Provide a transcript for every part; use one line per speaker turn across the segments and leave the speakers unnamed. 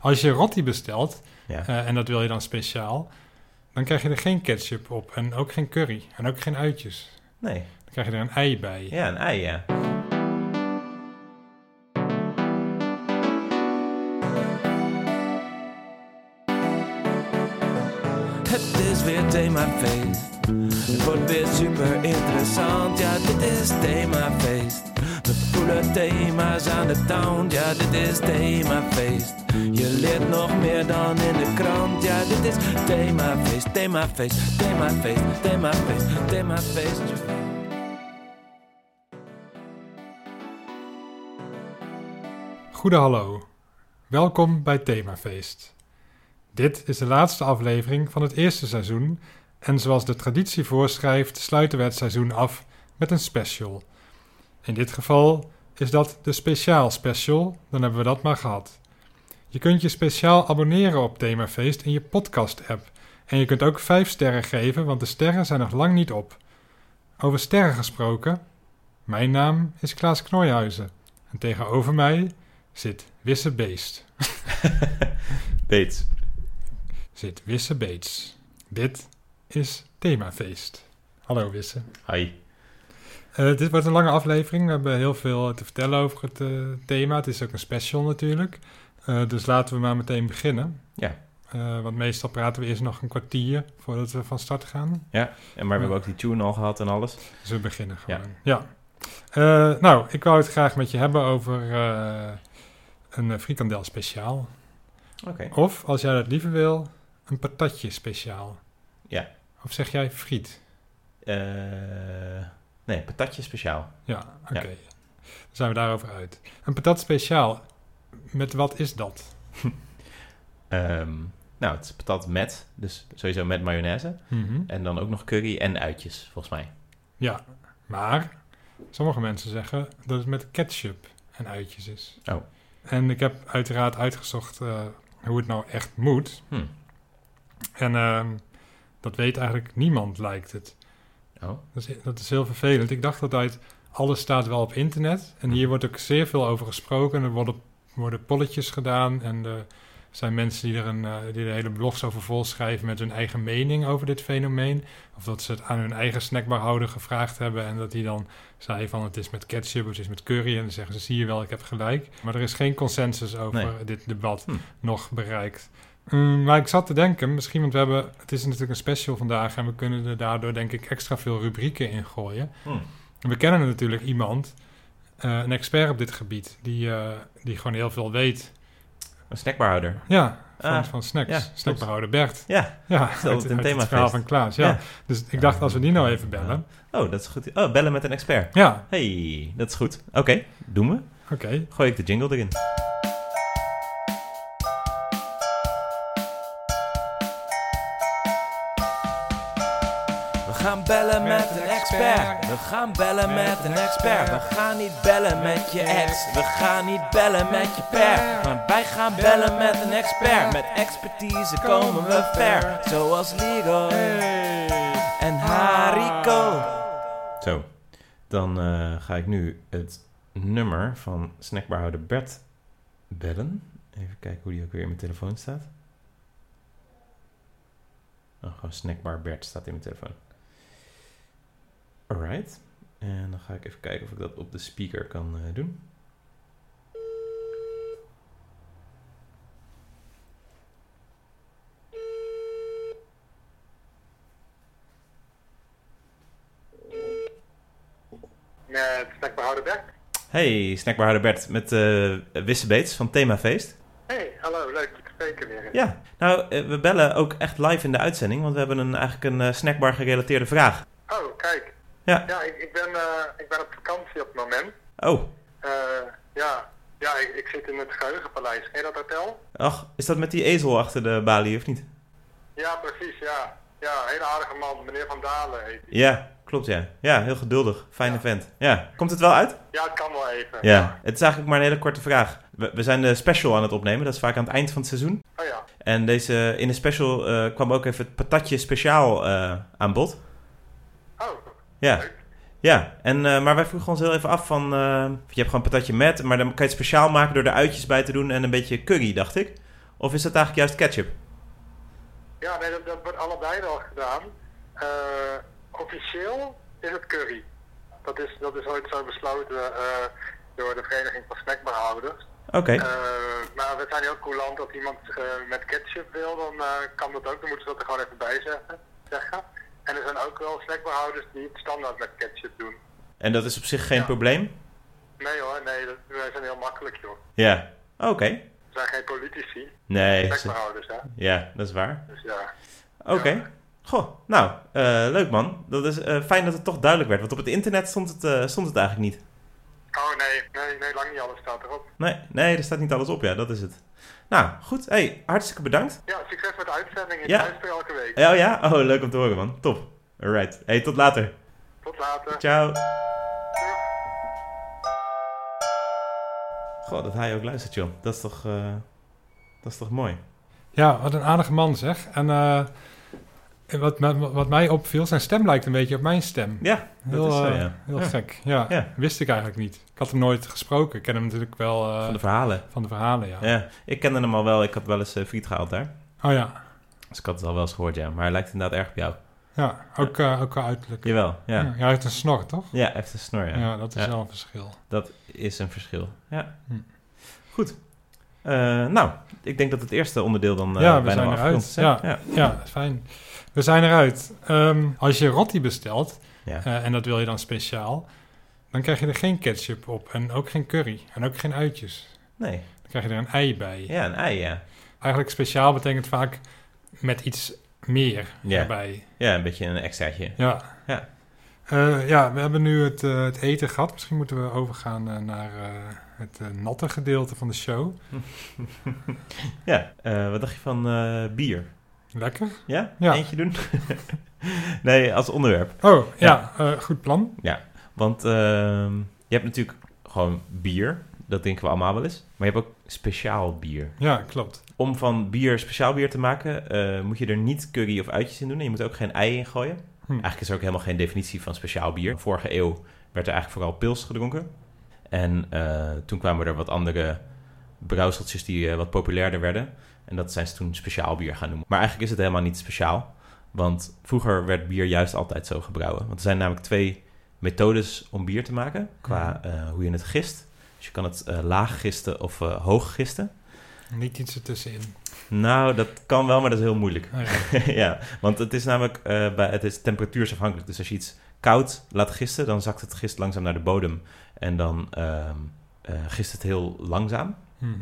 Als je rotti bestelt,
Ja.
eh, en dat wil je dan speciaal, dan krijg je er geen ketchup op en ook geen curry en ook geen uitjes.
Nee.
Dan krijg je er een ei bij.
Ja, een ei, ja.
Het is weer themafeest. Het wordt weer super interessant. Ja, dit is themafeest. We voelen thema's aan de town. Ja, dit is themafeest. Je leert nog meer dan in de krant. Ja, dit is themafeest, themafeest, themafeest, themafeest, themafeest.
Goede hallo. Welkom bij Themafeest. Dit is de laatste aflevering van het eerste seizoen en zoals de traditie voorschrijft sluiten we het seizoen af met een special. In dit geval is dat de speciaal special, dan hebben we dat maar gehad. Je kunt je speciaal abonneren op Themafeest in je podcast app en je kunt ook 5 sterren geven, want de sterren zijn nog lang niet op. Over sterren gesproken, mijn naam is Klaas Knooihuizen en tegenover mij zit Wisse Beest.
Beets.
Zit Wisse Beets. Dit is Themafeest. Hallo Wisse.
Hai.
Eh, dit wordt een lange aflevering. We hebben heel veel te vertellen over het eh, thema. Het is ook een special natuurlijk. Eh, dus laten we maar meteen beginnen.
Ja.
Eh, want meestal praten we eerst nog een kwartier voordat we van start gaan.
En maar we hebben ook die tune al gehad en alles.
Dus we beginnen
Ja.
gewoon. Ja. Eh, nou, ik wou het graag met je hebben over eh, een eh, frikandel speciaal.
Oké.
Of, als jij dat liever wil, een patatje speciaal.
Ja.
Of zeg jij friet?
Eh, nee, patatje speciaal.
Ja, oké. Dan zijn we daarover uit. Een patat speciaal, met wat is dat?
Ehm, nou, het is patat met, dus sowieso met mayonaise. En dan ook nog curry en uitjes, volgens mij.
Ja, maar sommige mensen zeggen dat het met ketchup en uitjes is.
Oh.
En ik heb uiteraard uitgezocht eh, hoe het nou echt moet.
Hm.
En ehm, dat weet eigenlijk niemand, lijkt het.
Oh.
Dat is, dat is heel vervelend. Ik dacht altijd, alles staat wel op internet. En hier wordt ook zeer veel over gesproken. Er worden, worden polletjes gedaan. En er zijn mensen die er, een, eh, die er hele blogs over volschrijven met hun eigen mening over dit fenomeen. Of dat ze het aan hun eigen snackbarhouder gevraagd hebben. En dat die dan zei van het is met ketchup, het is met curry. En dan zeggen ze, zie je wel, ik heb gelijk. Maar er is geen consensus over
Nee.
dit debat
Hm.
nog bereikt. Mm, maar ik zat te denken, misschien, want we hebben, het is natuurlijk een special vandaag en we kunnen er daardoor denk ik extra veel rubrieken in gooien.
Hm.
We kennen natuurlijk iemand, eh, een expert op dit gebied, die, eh, die gewoon heel veel weet.
Een snackbarhouder.
Ja, van,
Ah,
van snacks.
ja,
Snackbehouder Bert.
Ja.
Ja,
het een themafeest.
verhaal van Klaas. Ja.
Ja.
Dus ik dacht, als we die nou even bellen.
Oh, dat is goed. Oh, bellen met een expert.
Ja,
Hey, dat is goed. Oké, doen we.
oké.
Gooi ik de jingle erin.
We gaan bellen met een expert. We gaan bellen met een expert. We gaan niet bellen met je ex. We gaan niet bellen met je per. Want wij gaan bellen met een expert. Met expertise komen we ver. Zoals Ligo en Hariko.
Zo, dan eh, ga ik nu het nummer van snackbarhouder Bert bellen. Even kijken hoe die ook weer in mijn telefoon staat. Oh, gewoon snackbar Bert staat in mijn telefoon. Alright. En dan ga ik even kijken of ik dat op de speaker kan eh, doen.
Met snackbehouder Bert.
Hey, snackbarhouder Bert met eh Wisse Beets van Themafeest.
Hey, hallo, leuk je te spreken weer.
Ja, nou, eh, we bellen ook echt live in de uitzending, want we hebben een, eigenlijk een eh, snackbar gerelateerde vraag.
Oh, kijk.
Ja.
Ja, ik, ik, ben, eh, ik ben op vakantie op het moment.
Oh,
Eh, ja, ja ik, ik zit in het Geheugenpaleis. Ken je dat hotel?
ach, is dat met die ezel achter de balie of niet?
Ja, precies, ja. Ja, hele aardige man. Meneer Van Dalen heet hij.
Ja, klopt ja. Ja, heel geduldig. Fijne vent. Ja, komt het wel uit?
Ja, het kan wel even.
Ja. Het is eigenlijk maar een hele korte vraag. We, we zijn de special aan het opnemen, dat is vaak aan het eind van het seizoen.
Oh ja.
En deze, in de special eh, kwam ook even het patatje speciaal eh, aan bod.
Oh,
Ja.
leuk.
Ja, en, eh, maar wij vroegen ons heel even af van... eh, je hebt gewoon patatje met, maar dan kan je het speciaal maken door er uitjes bij te doen en een beetje curry, dacht ik. Of is dat eigenlijk juist ketchup?
Ja, nee, dat, dat wordt allebei wel gedaan. Eh, officieel is het curry. Dat is, dat is ooit zo besloten eh, door de Vereniging van Snackbehouders.
Oké.
Eh, maar we zijn heel coulant dat iemand eh, met ketchup wil, dan eh, kan dat ook. Dan moeten ze dat er gewoon even bij zeggen. zeggen. En er zijn ook wel snackbehouders die het standaard met ketchup doen.
En dat is op zich geen
Ja.
probleem?
Nee hoor, nee, dat, wij zijn heel makkelijk joh.
Ja. Oké.
We zijn geen politici,
Nee. ze-
snackbehouders hè.
Ja, dat is waar.
Dus ja.
Oké. Goh, nou, eh, leuk man. Dat is eh, fijn dat het toch duidelijk werd, want op het internet stond het, eh, stond het eigenlijk niet.
Oh nee, nee, nee, lang niet alles staat erop.
Nee, nee, er staat niet alles op, ja, dat is het. Nou, goed. hey, hartstikke bedankt.
Ja, succes met de uitzending. Ik
Ja.
luister elke week.
Oh ja? Oh, leuk om te horen man. Top. Alright. hey, tot later.
Tot later.
Ciao.
Doeg.
Goh, dat hij ook luistert, John. Dat is toch, eh, dat is toch mooi.
Ja, wat een aardige man zeg. En eh, wat, me- wat mij opviel, zijn stem lijkt een beetje op mijn stem.
Ja, dat
Heel,
is zo,
eh,
ja.
Heel
Ja.
gek. Ja,
Ja.
wist ik eigenlijk niet. Ik had hem nooit gesproken. Ik ken hem natuurlijk wel eh,
Van de verhalen.
van de verhalen, ja.
Ja, ik kende hem al wel. Ik had wel eens eh, friet gehaald daar.
Oh ja,
Dus ik had het al wel eens gehoord, ja. Maar hij lijkt inderdaad erg op jou.
ja. Ook, eh ook qua uiterlijk.
Jawel, ja.
Ja, hij heeft een snor, toch?
Ja, hij heeft een snor, ja.
Ja, dat is
Ja.
wel een verschil.
Dat is een verschil, ja.
Hm.
Goed. Eh, nou, ik denk dat het eerste onderdeel dan eh
Ja, we
bijna
zijn
wel afgerond is. hè?
eruit.
ja.
Ja, fijn. We zijn eruit. Ehm, als je rotti bestelt,
Ja.
eh, en dat wil je dan speciaal, dan krijg je er geen ketchup op en ook geen curry en ook geen uitjes.
Nee,
Dan krijg je er een ei bij.
ja, een ei, ja.
Eigenlijk speciaal betekent vaak met iets meer
Ja.
erbij.
Ja, een beetje een extraatje.
Ja.
Ja.
Eh, ja, we hebben nu het, eh, het eten gehad. Misschien moeten we overgaan eh, naar eh, het eh, natte gedeelte van de show.
Ja, eh, wat dacht je van eh, bier?
Lekker.
Ja?
Ja.
Eentje doen? nee, als onderwerp.
Oh, ja, eh, goed plan.
Want ehm, je hebt natuurlijk gewoon bier. Dat denken we allemaal wel eens. Maar je hebt ook speciaal bier.
Ja, klopt.
Om van bier speciaal bier te maken, eh, moet je er niet curry of uitjes in doen. En je moet ook geen ei in gooien.
Hm.
Eigenlijk is er ook helemaal geen definitie van speciaal bier. Vorige eeuw werd er eigenlijk vooral pils gedronken. En eh, toen kwamen er wat andere brouwseltjes die eh, wat populairder werden. En dat zijn ze toen speciaal bier gaan noemen. Maar eigenlijk is het helemaal niet speciaal. Want vroeger werd bier juist altijd zo gebrouwen. Want er zijn namelijk twee methodes om bier te maken. Qua eh, hoe je het gist. Dus je kan het eh, laag gisten of eh, hoog gisten.
Niet iets ertussenin.
Nou, dat kan wel, maar dat is heel moeilijk.
Oh, ja.
ja, want het is namelijk eh, bij, het is temperatuursafhankelijk. Dus als je iets koud laat gisten, dan zakt het gist langzaam naar de bodem. En dan ehm, eh, gist het heel langzaam.
Mhm.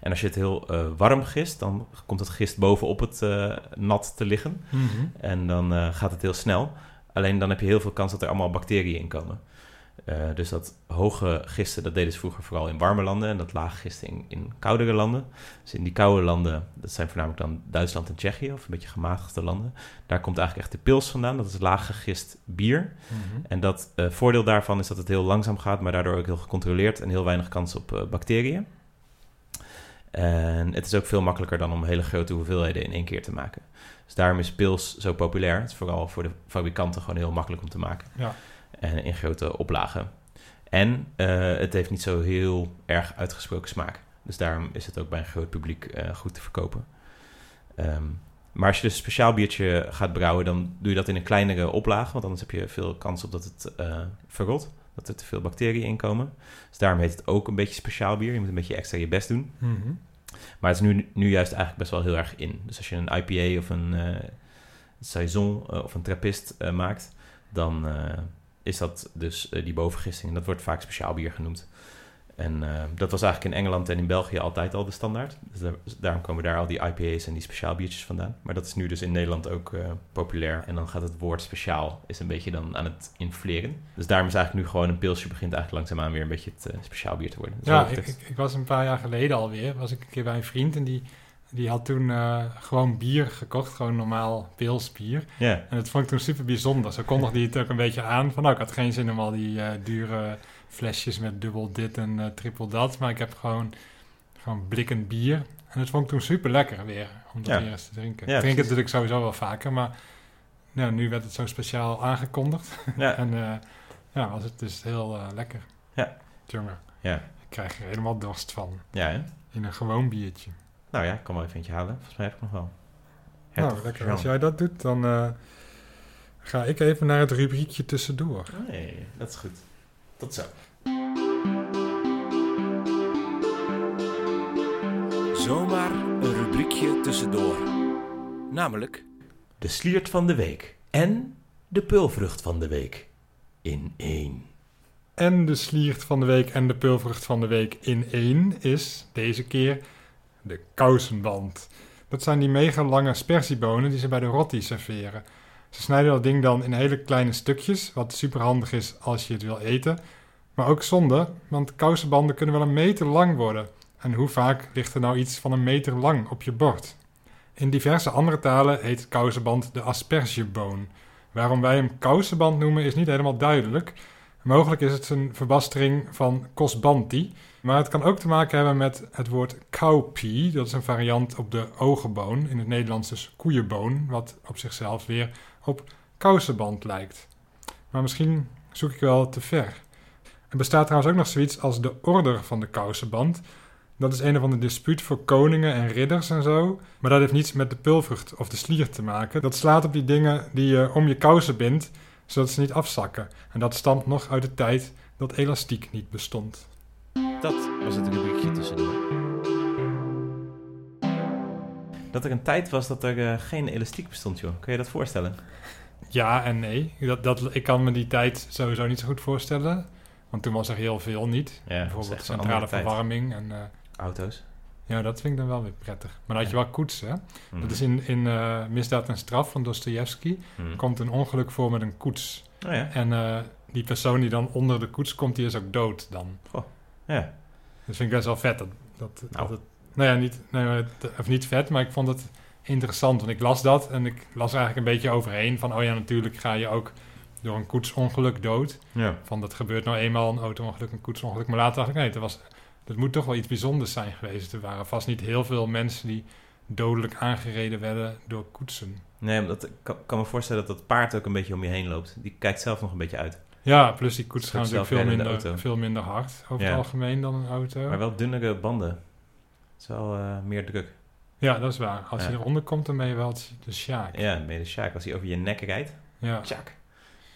En als je het heel eh, warm gist, dan komt het gist bovenop het eh, nat te liggen.
Mhm.
En dan eh, gaat het heel snel. Alleen dan heb je heel veel kans dat er allemaal bacteriën in komen. Eh, dus dat hoge gisten, dat deden ze vroeger vooral in warme landen. En dat lage gisten in, in koudere landen. Dus in die koude landen, dat zijn voornamelijk dan Duitsland en Tsjechië. Of een beetje gematigde landen. Daar komt eigenlijk echt de pils vandaan. Dat is laag gegist bier.
Mhm.
En dat eh, voordeel daarvan is dat het heel langzaam gaat, maar daardoor ook heel gecontroleerd en heel weinig kans op eh, bacteriën. En het is ook veel makkelijker dan om hele grote hoeveelheden in één keer te maken. Dus daarom is pils zo populair. Het is vooral voor de fabrikanten gewoon heel makkelijk om te maken.
Ja.
En in grote oplagen. En eh, het heeft niet zo heel erg uitgesproken smaak. Dus daarom is het ook bij een groot publiek eh, goed te verkopen. Ehm, maar als je dus een speciaal biertje gaat brouwen, dan doe je dat in een kleinere oplage. Want anders heb je veel kans op dat het eh, verrot. Dat er te veel bacteriën in komen. Dus daarom heet het ook een beetje speciaal bier. Je moet een beetje extra je best doen.
Mhm.
Maar het is nu, nu juist eigenlijk best wel heel erg in. Dus als je een IPA of een eh Saison eh, of een Trappist eh, maakt, dan eh, is dat dus eh, die bovengisting. En dat wordt vaak speciaal bier genoemd. En eh, dat was eigenlijk in Engeland en in België altijd al de standaard. Dus daar- daarom komen daar al die IPA's en die speciaal biertjes vandaan. Maar dat is nu dus in Nederland ook eh, populair. En dan gaat het woord speciaal is een beetje dan aan het infleren. Dus daarom is eigenlijk nu gewoon een pilsje begint eigenlijk langzaamaan weer een beetje het eh, speciaal bier te worden. Dus
Ja,
wat dat
ik,
betreft-
ik, ik was een paar jaar geleden alweer, was ik een keer bij een vriend en die, die had toen eh, gewoon bier gekocht, gewoon normaal pilsbier.
ja.
En dat vond ik toen super bijzonder. Zo kondigde hij het ook een beetje aan van, nou, ik had geen zin om al die eh, dure flesjes met dubbel dit en eh, triple dat, maar ik heb gewoon, gewoon blikken bier. En dat vond ik toen super lekker weer, om dat
Ja.
weer eens te drinken.
Ja,
ik drink het
precies.
natuurlijk sowieso wel vaker, maar nou, nu werd het zo speciaal aangekondigd.
Ja.
en eh, ja, was het dus heel eh, lekker.
Ja.
Jongen,
Ja.
ik krijg er helemaal dorst van.
Ja, hè?
In een gewoon biertje.
Nou ja, ik kan wel even eentje halen. Volgens mij heb ik nog wel.
Nou,
Hertog
lekker.
Jean.
Als jij dat doet, dan eh, ga ik even naar het rubriekje tussendoor.
Nee, dat is goed. Tot zo.
Zomaar een rubriekje tussendoor. Namelijk
De sliert van de week en de peulvrucht van de week in één.
En de sliert van de week en de pulvrucht van de week in één is deze keer de kousenband. Dat zijn die mega lange spersiebonen die ze bij de rotti serveren. Ze snijden dat ding dan in hele kleine stukjes, wat superhandig is als je het wil eten. Maar ook zonde, want kousenbanden kunnen wel een meter lang worden. En hoe vaak ligt er nou iets van een meter lang op je bord? In diverse andere talen heet kousenband de aspergeboon. Waarom wij hem kousenband noemen is niet helemaal duidelijk, Mogelijk is het een verbastering van kosbanti, maar het kan ook te maken hebben met het woord cowpea. Dat is een variant op de ogenboon, in het Nederlands dus koeienboon, wat op zichzelf weer op kousenband lijkt. Maar misschien zoek ik wel te ver. Er bestaat trouwens ook nog zoiets als de Order van de Kousenband. Dat is een of ander dispuut voor koningen en ridders en zo. Maar dat heeft niets met de pulvrucht of de slier te maken. Dat slaat op die dingen die je om je kousen bindt, zodat ze niet afzakken. En dat stamt nog uit de tijd dat elastiek niet bestond.
dat was het rubriekje tussendoor.
Dat er een tijd was dat er eh, geen elastiek bestond, joh. Kun je dat voorstellen?
Ja en nee. Dat, dat, ik kan me die tijd sowieso niet zo goed voorstellen. Want toen was er heel veel niet.
Ja,
Bijvoorbeeld centrale verwarming. En, eh,
Auto's.
ja, dat vind ik dan wel weer prettig. Maar dan had je wel koetsen. hè?
Hmm.
Mhm.
Dat is in, in eh, Misdaad en Straf van Dostoevsky.
Hmm.
Mhm.
komt een ongeluk voor met een koets.
Oh ja.
En eh, die persoon die dan onder de koets komt, die is ook dood dan.
ja.
Dat vind ik best wel vet. Dat, dat, nou. dat
Nou.
het, nou ja, niet, nee, maar het- of niet vet, maar ik vond het interessant. Want ik las dat en ik las er eigenlijk een beetje overheen. Van, oh ja, natuurlijk ga je ook door een koetsongeluk dood.
Ja.
Van, dat gebeurt nou eenmaal, een auto-ongeluk, een koetsongeluk. Maar later dacht ik, nee, dat, was, dat moet toch wel iets bijzonders zijn geweest. Er waren vast niet heel veel mensen die dodelijk aangereden werden door koetsen.
Nee, maar dat, ik kan, kan me voorstellen dat dat paard ook een beetje om je heen loopt. Die kijkt zelf nog een beetje uit.
Ja, plus die koets
Ook
gaan natuurlijk veel
zelfrijdende
minder,
auto.
veel minder hard over
Ja.
het algemeen dan een auto.
Maar wel dunnere banden. Het is wel eh, meer druk.
Ja, dat is waar. Als je
Ja.
eronder komt, dan ben je wel het- de sjaak. Ja.
Ja, mede Sjaak. Als hij over je nek rijdt.
Ja.
Tjak.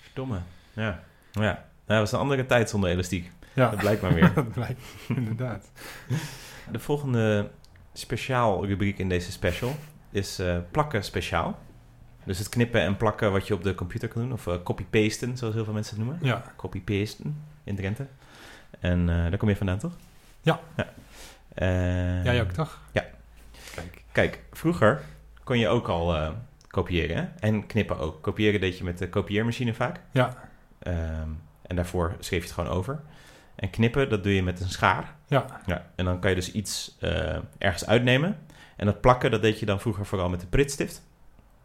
Verdomme. Ja. Ja. Nou, dat was een andere tijd zonder elastiek. Dat
Ja.
blijkt maar weer.
dat blijkt inderdaad.
De volgende speciaal rubriek in deze special is eh, plakken speciaal. Dus het knippen en plakken wat je op de computer kan doen. Of eh, copy-pasten, zoals heel veel mensen het noemen.
Ja,
Copy-pasten in Drenthe. En eh, daar kom je vandaan, toch?
Ja.
ja. Eh,
jij ook toch?
ja.
Kijk.
Kijk, vroeger kon je ook al eh, kopiëren hè? en knippen ook. Kopiëren deed je met de kopieermachine vaak.
Ja.
Ehm, en daarvoor schreef je het gewoon over. En knippen, dat doe je met een schaar.
Ja,
Ja. En dan kan je dus iets eh, ergens uitnemen. En dat plakken, dat deed je dan vroeger vooral met de pritstift.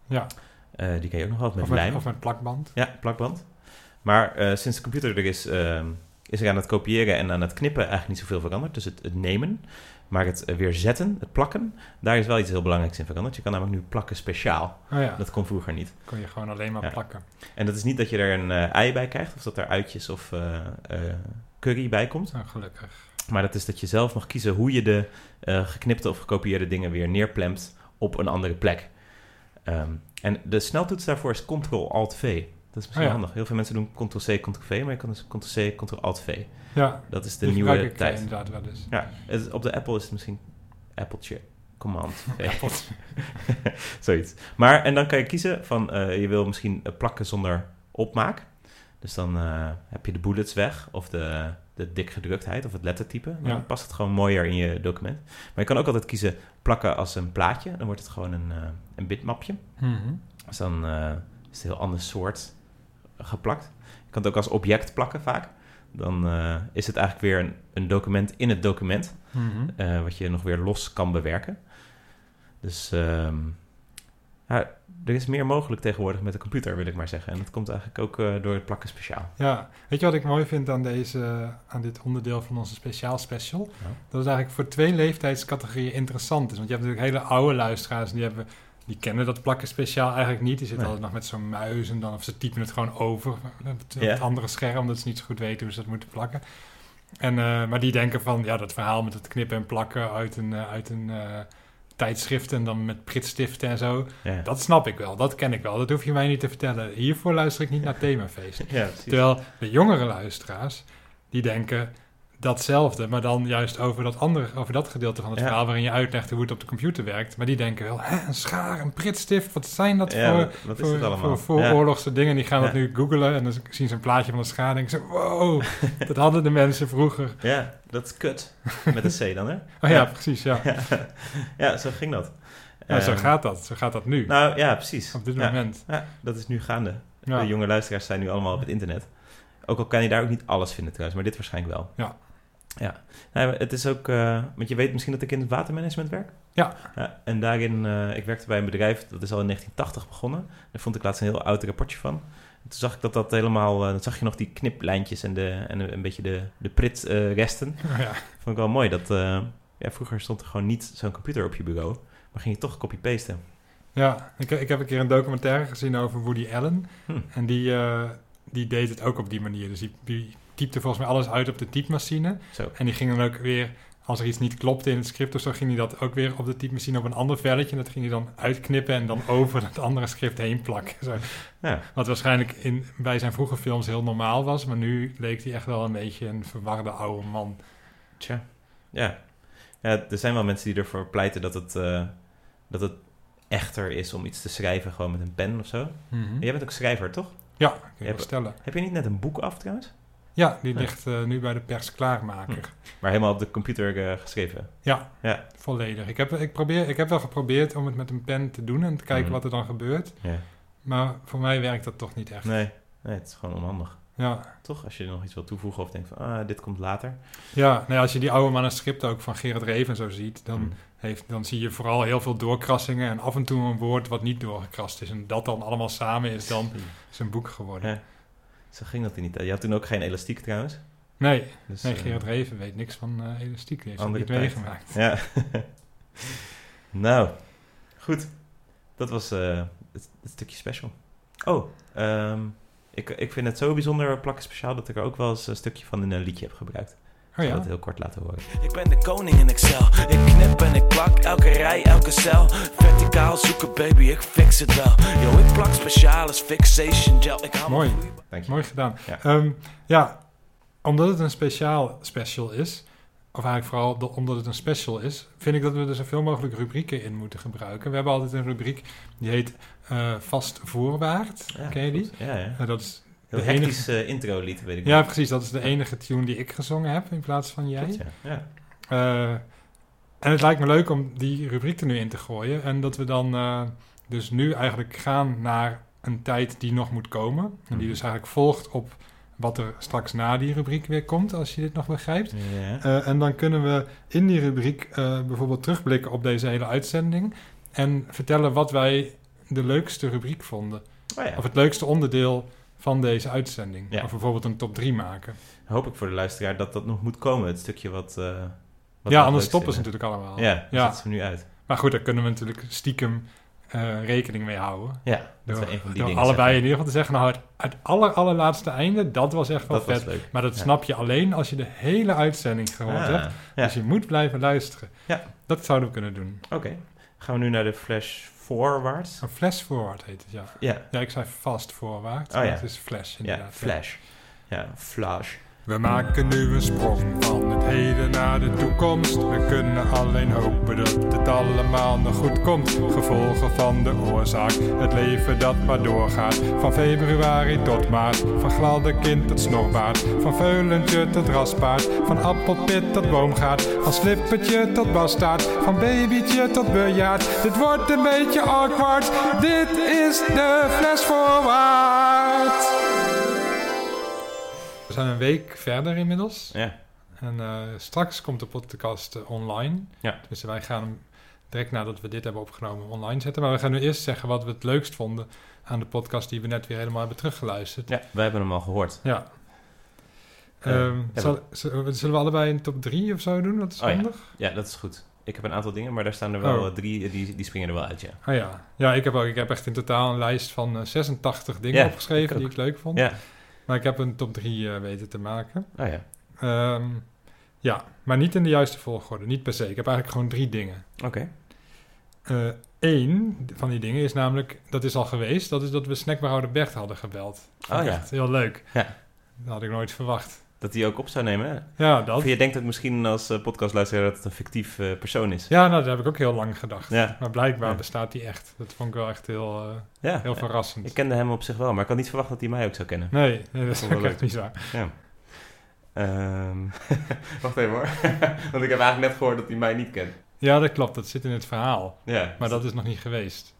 ja.
Eh, die kan je ook nog wel met
Of,
lijm.
met, of met plakband.
Ja, plakband. Maar eh, sinds de computer er is, ehm, is er aan het kopiëren en aan het knippen eigenlijk niet zoveel veranderd. Dus het, het nemen, maar het eh, weer zetten, het plakken, daar is wel iets heel belangrijks in veranderd. Je kan namelijk nu plakken speciaal.
Oh ja, dat
Dat kon vroeger niet.
kon je gewoon alleen maar
Ja.
plakken.
En dat is niet dat je er een eh, ei bij krijgt, of dat er uitjes of eh, eh, curry bij komt.
Nou, gelukkig.
Maar dat is dat je zelf mag kiezen hoe je de eh, geknipte of gekopieerde dingen weer neerplemt op een andere plek. Ehm, en de sneltoets daarvoor is Ctrl-Alt-V. Dat is misschien
Oh ja.
handig. Heel veel mensen doen Ctrl-C, Ctrl-V, maar je kan dus Ctrl-C, Ctrl-Alt-V.
Ja,
Dat is de
die gebruik
nieuwe
ik, eh,
tijd.
inderdaad wel eens.
Ja, het- op de Apple is het misschien Appeltje Command V.
Pot.
Zoiets. Maar, en dan kan je kiezen van, eh, je wil misschien eh, plakken zonder opmaak. Dus dan eh, heb je de bullets weg of de, de dikgedruktheid of het lettertype. Maar
Ja.
Dan past het gewoon mooier in je document. Maar je kan ook altijd kiezen plakken als een plaatje. Dan wordt het gewoon een, eh, een bitmapje.
Mhm.
Dus dan eh, is het een heel ander soort geplakt. Je kan het ook als object plakken vaak. Dan eh, is het eigenlijk weer een, een document in het document.
Mhm.
Eh, wat je nog weer los kan bewerken. Dus ehm, ja, er is meer mogelijk tegenwoordig met de computer, wil ik maar zeggen. En dat komt eigenlijk ook eh, door het plakken speciaal.
Ja, weet je wat ik mooi vind aan, deze, aan dit onderdeel van onze speciaal special? Dat het eigenlijk voor twee leeftijdscategorieën interessant is. Want je hebt natuurlijk hele oude luisteraars en die, hebben, die kennen dat plakken speciaal eigenlijk niet. Die zitten
Nee.
altijd nog met zo'n muis en dan of ze typen het gewoon over op het, op
Ja.
het andere scherm, omdat ze niet zo goed weten hoe ze dat moeten plakken. En, eh, maar die denken van, ja, dat verhaal met het knippen en plakken uit een, eh, uit een eh, tijdschriften en dan met pritstiften en zo.
Ja,
Dat snap ik wel, dat ken ik wel. Dat hoef je mij niet te vertellen. Hiervoor luister ik niet naar themafeest.
ja precies.
Terwijl de jongere luisteraars, die denken datzelfde, maar dan juist over dat, andere, over dat gedeelte van het
Ja.
verhaal waarin je uitlegt hoe het op de computer werkt. Maar die denken wel, hè, een schaar, een pritstift, wat zijn dat
Ja,
voor,
wat- wat is
voor,
dat allemaal?
voor vooroorlogse dingen? Die gaan dat
Ja.
nu googlen en dan zien ze een plaatje van een schaar en denken ze, wow, dat hadden de mensen vroeger.
ja. ja, dat is kut. Met een C dan, hè?
Oh ja,
Ja.
precies, ja.
ja. ja, zo ging dat.
Nou, zo
Ehm,
gaat dat, zo gaat dat nu,
Nou ja, precies.
op dit
Ja.
moment.
Ja, dat is nu gaande.
Ja.
De jonge luisteraars zijn nu allemaal op het internet. Ook al kan je daar ook niet alles vinden trouwens, maar dit waarschijnlijk wel.
Ja.
Ja. Nee, maar het is ook... eh, want je weet misschien dat ik in het watermanagement werk.
Ja.
en daarin... eh, ik werkte bij een bedrijf, dat is al in 1980 begonnen. Daar vond ik laatst een heel oud rapportje van. En toen zag ik dat dat helemaal... eh, dan zag je nog die kniplijntjes en, de, en een beetje de, de pritresten.
Oh ja.
Vond ik wel mooi dat... eh, ja, vroeger stond er gewoon niet zo'n computer op je bureau. Maar ging je toch copy-pasten.
Ja, ik, ik heb een keer een documentaire gezien over Woody Allen.
Hm.
En die, eh, die deed het ook op die manier. Dus die, die typte volgens mij alles uit op de typemachine.
Zo.
En die ging dan ook weer, als er iets niet klopte in het script of zo, ging hij dat ook weer op de typemachine op een ander velletje. En dat ging hij dan uitknippen en dan over het andere script heen plakken. Zo.
Ja.
Wat waarschijnlijk in, bij zijn vroege films heel normaal was. Maar nu leek hij echt wel een beetje een verwarde oude man.
Tja, ja. ja. Er zijn wel mensen die ervoor pleiten dat het, eh, dat het echter is om iets te schrijven gewoon met een pen of zo.
Mhm.
Maar Jij bent ook schrijver, toch?
Ja, kun je wel
Heb-
stellen.
Heb je niet net een boek af trouwens?
Ja, die
Ja. Hm.
ligt eh, nu bij de persklaarmaker.
Maar helemaal op de computer eh, geschreven.
Volledig. Ik heb, ik, probeer, ik heb wel geprobeerd om het met een pen te doen en te kijken
Mhm.
wat er dan gebeurt.
Ja.
Maar voor mij werkt dat toch niet echt.
Nee, nee, het is gewoon onhandig.
Ja,
Toch? Als je er nog iets wil toevoegen of denkt van, ah, dit komt later.
ja nou ja, als je die oude manuscripten ook van Gerard Reven en zo ziet, dan,
Hmm.
heeft, dan zie je vooral heel veel doorkrassingen en af en toe een woord wat niet doorgekrast is. En dat dan allemaal samen is dan zijn boek geworden.
Ja. Zo ging dat in niet. Je had toen ook geen elastiek trouwens.
Nee,
Dus,
nee
eh,
Gerard Reven weet niks van eh, elastiek. Die heeft dat
Andere
niet
tijd.
meegemaakt.
Ja. nou, goed. Dat was eh, het, het stukje special. Oh, ehm, ik, ik vind het zo bijzonder plakken speciaal dat ik er ook wel eens een stukje van in een eh, liedje heb gebruikt. Ik
Oh
zal
ja.
dat heel kort laten horen.
Ik ben de koning in Excel. Ik knip en ik plak elke rij, elke cel. Verticaal zoeken, baby, ik fix het wel. Yo, ik plak speciales, fixation gel. Ik hou me
Mooi.
vloeibaar.
Dank je.
Mooi gedaan.
Ja.
Ehm, ja, omdat het een speciaal special is, of eigenlijk vooral de- omdat het een special is, vind ik dat we er zoveel mogelijk rubrieken in moeten gebruiken. We hebben altijd een rubriek die heet eh, Vast Voorwaard.
Ja,
Ken je die?
klopt. Ja, ja.
Eh, dat is,
Heel
De enige-
hectisch eh, introlied, weet ik
ja,
nog.
precies. Dat is de enige tune die ik gezongen heb in plaats van jij.
Klopt, ja. Ja.
Eh, en het lijkt me leuk om die rubriek er nu in te gooien. En dat we dan eh, dus nu eigenlijk gaan naar een tijd die nog moet komen. En
Mhm.
die dus eigenlijk volgt op wat er straks na die rubriek weer komt, als je dit nog begrijpt.
Ja.
Eh, en dan kunnen we in die rubriek eh, bijvoorbeeld terugblikken op deze hele uitzending. En vertellen wat wij de leukste rubriek vonden.
Oh ja.
Of het leukste onderdeel van deze uitzending.
Ja.
Of bijvoorbeeld een top 3 maken.
Hoop ik voor de luisteraar dat dat nog moet komen. Het stukje wat... eh, wat
ja, anders
we het leukst
stoppen ze
vinden.
natuurlijk allemaal.
Ja, dat
Ja.
zetten ze nu uit.
Maar goed, daar kunnen we natuurlijk stiekem eh, rekening mee houden.
Ja, dat
Door,
we een van die
door
dingen
allebei
zeggen.
in ieder geval te zeggen, nou, het, het aller, allerlaatste einde, dat was echt wel
Dat was
vet.
leuk.
Maar dat
Ja.
snap je alleen als je de hele uitzending gehoord
Ah,
hebt.
ja.
Dus je moet blijven luisteren.
Ja.
Dat zouden we kunnen doen.
Oké, gaan we nu naar de flash forwards.
Een flash forward heet het, ja.
Ja,
Ja, ik zei fast voorwaarts,
Oh,
maar
ja.
het is flash inderdaad.
ja,
ja.
flash. Ja, flash.
We maken nu een sprong van het heden naar de toekomst. We kunnen alleen hopen dat het allemaal nog goed komt. Gevolgen van de oorzaak, het leven dat maar doorgaat. Van februari tot maart, van gladde kind tot snorbaard. Van veulentje tot raspaard, van appelpit tot boomgaard. Van slippertje tot bastaard, van babytje tot bejaard. Dit wordt een beetje awkward, dit is de fles voorwaarts. We zijn een week verder inmiddels.
Ja,
En eh, straks komt de podcast eh, online.
Ja.
Dus wij gaan hem direct nadat we dit hebben opgenomen online zetten. Maar we gaan nu eerst zeggen wat we het leukst vonden aan de podcast die we net weer helemaal hebben teruggeluisterd.
ja wij hebben hem al gehoord.
Ja.
Eh,
Ehm,
ja,
zal- zullen we- zullen we allebei een top 3 of zo doen? Dat is
Oh ja.
handig.
Ja, dat is goed. Ik heb een aantal dingen, maar daar staan er wel
Oh.
eh, drie, eh, die, die springen er wel uit, ja.
Ah ja, ja ik, heb ook, ik heb echt in totaal een lijst van eh, 86 dingen
Ja, ik
opgeschreven
ook.
die ik leuk vond.
Ja,
Maar ik heb een top 3 eh, weten te maken.
oh ja,
Ehm, ja, maar niet in de juiste volgorde. Niet per se. Ik heb eigenlijk gewoon drie dingen.
oké.
Eh Eén van die dingen is namelijk, dat is al geweest, dat is dat we snackbarhouder Bert hadden gebeld. Vond
Oh
ik
ja.
echt Heel leuk.
Ja.
Dat had ik nooit verwacht.
Dat hij ook op zou nemen. hè?
Ja, dat.
Of je denkt dat misschien als eh, podcastluisteraar dat het een fictief eh, persoon is.
Ja, nou, dat heb ik ook heel lang gedacht.
Ja.
Maar blijkbaar
Ja.
bestaat die echt. Dat vond ik wel echt heel, eh,
Ja,
heel verrassend.
ik kende hem op zich wel, maar ik had niet verwacht dat hij mij ook zou kennen.
Nee, nee, dat is
Vond ik
ook
wel
echt bizar.
Ja. Ehm, wacht even hoor. Want ik heb eigenlijk net gehoord dat hij mij niet kent.
Ja, dat klopt. Dat zit in het verhaal.
Ja.
Maar dat is nog niet geweest.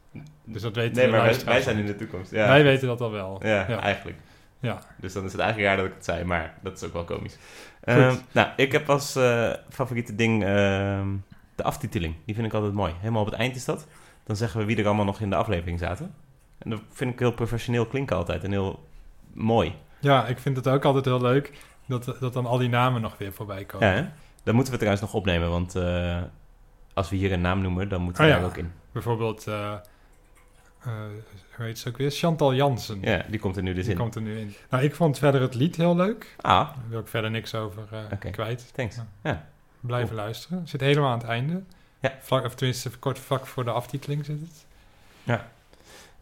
Dus dat weten
nee,
de
maar wij,
luisteraars
wij zijn in
niet.
de toekomst. Ja.
Wij weten dat al wel.
Ja,
Ja.
eigenlijk.
Ja.
Dus dan is het eigenlijk raar dat ik het zei, maar dat is ook wel komisch. Ehm, nou, ik heb als eh, favoriete ding ehm, de aftiteling. Die vind ik altijd mooi. Helemaal op het eind is dat. Dan zeggen we wie er allemaal nog in de aflevering zaten. En dat vind ik heel professioneel klinken altijd en heel mooi.
Ja, ik vind het ook altijd heel leuk dat, dat dan al die namen nog weer voorbij komen.
Ja, hè? dat moeten we trouwens nog opnemen, want eh, als we hier een naam noemen, dan moeten we
Oh,
daar
ja.
ook in.
Bijvoorbeeld, eh eh, hoe heet ze ook weer? Chantal Jansen.
Ja, die komt er nu dus
Die
in.
komt er nu in. Nou, ik vond verder het lied heel leuk.
Ah,
Daar wil ik verder niks over eh,
Oké.
kwijt.
thanks.
Ja.
Ja.
Blijven luisteren. Zit helemaal aan het einde.
Ja.
Vlak, of tenminste, kort vlak voor de aftiteling zit het.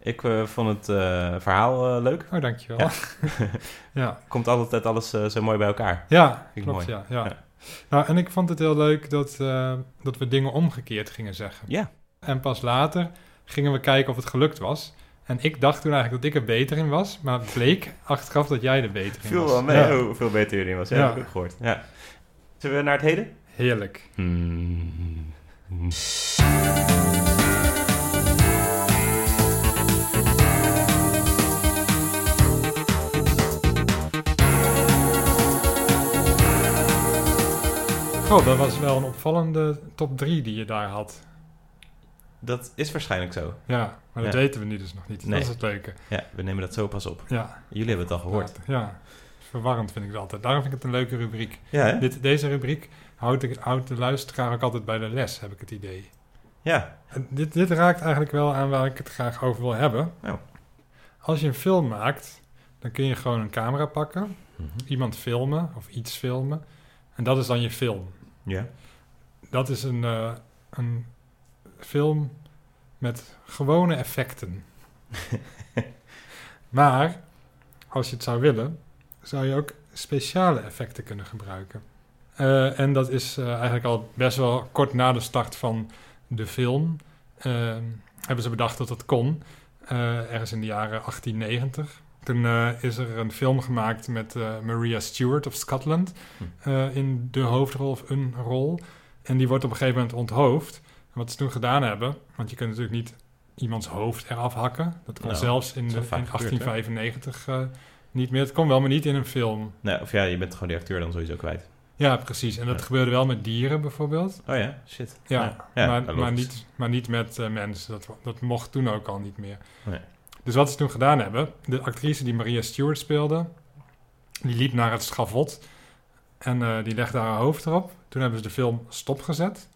Ik eh, vond het eh, verhaal eh, leuk.
Oh, dankjewel. Ja, ja.
Komt altijd alles eh, zo mooi bij elkaar. Vind ik
klopt.
mooi.
Ja, ja.
Ja.
Nou, en ik vond het heel leuk dat, eh, dat we dingen omgekeerd gingen zeggen.
Ja.
En pas later gingen we kijken of het gelukt was. En ik dacht toen eigenlijk dat ik er beter in was, maar bleek achteraf dat jij er beter in
Viel
was.
wel mee
Ja.
hoe- hoeveel beter jullie was. Ja,
Ja.
heb ik ook gehoord. Ja. Zullen we naar het heden?
Heerlijk.
Hmm.
Goh, dat was wel een opvallende top 3 die je daar had.
Dat is waarschijnlijk zo.
Ja, maar dat
Ja.
weten we nu dus nog niet.
Nee.
Dat is het leuke.
Ja, we nemen dat zo pas op.
Ja,
Jullie hebben het al gehoord.
ja. Verwarrend vind ik het altijd. Daarom vind ik het een leuke rubriek.
Ja, hè?
Dit, deze rubriek houdt de, houdt de luisteraar ook altijd bij de les, heb ik het idee.
Ja.
En Dit, dit raakt eigenlijk wel aan waar ik het graag over wil hebben.
Nou.
Als je een film maakt, dan kun je gewoon een camera pakken,
Mhm.
iemand filmen of iets filmen. En dat is dan je film.
Ja.
Dat is een, eh, een film met gewone effecten. maar als je het zou willen, zou je ook speciale effecten kunnen gebruiken. Eh, en dat is eh, eigenlijk al best wel kort na de start van de film. eh, hebben ze bedacht dat dat kon. Eh, ergens in de jaren 1890. Toen eh, is er een film gemaakt met eh, Maria Stewart of Scotland. eh, in de hoofdrol of een rol. En die wordt op een gegeven moment onthoofd. En wat ze toen gedaan hebben, want je kunt natuurlijk niet iemands hoofd eraf hakken. Dat kon
Nou,
zelfs in,
dat
de,
is
in
wel vaak gebeurd, hè?
1895 eh, niet meer. Het kon wel, maar niet in een film.
Nou, of ja, je bent gewoon die acteur dan sowieso kwijt.
Ja, precies. En dat
Ja.
gebeurde wel met dieren bijvoorbeeld.
Oh ja, shit.
Ja, maar, maar,
dat loopt.
niet, maar niet met eh, mensen. Dat, dat mocht toen ook al niet meer.
Nee.
Dus wat ze toen gedaan hebben, de actrice die Maria Stewart speelde, die liep naar het schavot en eh, die legde haar hoofd erop. Toen hebben ze de film stopgezet.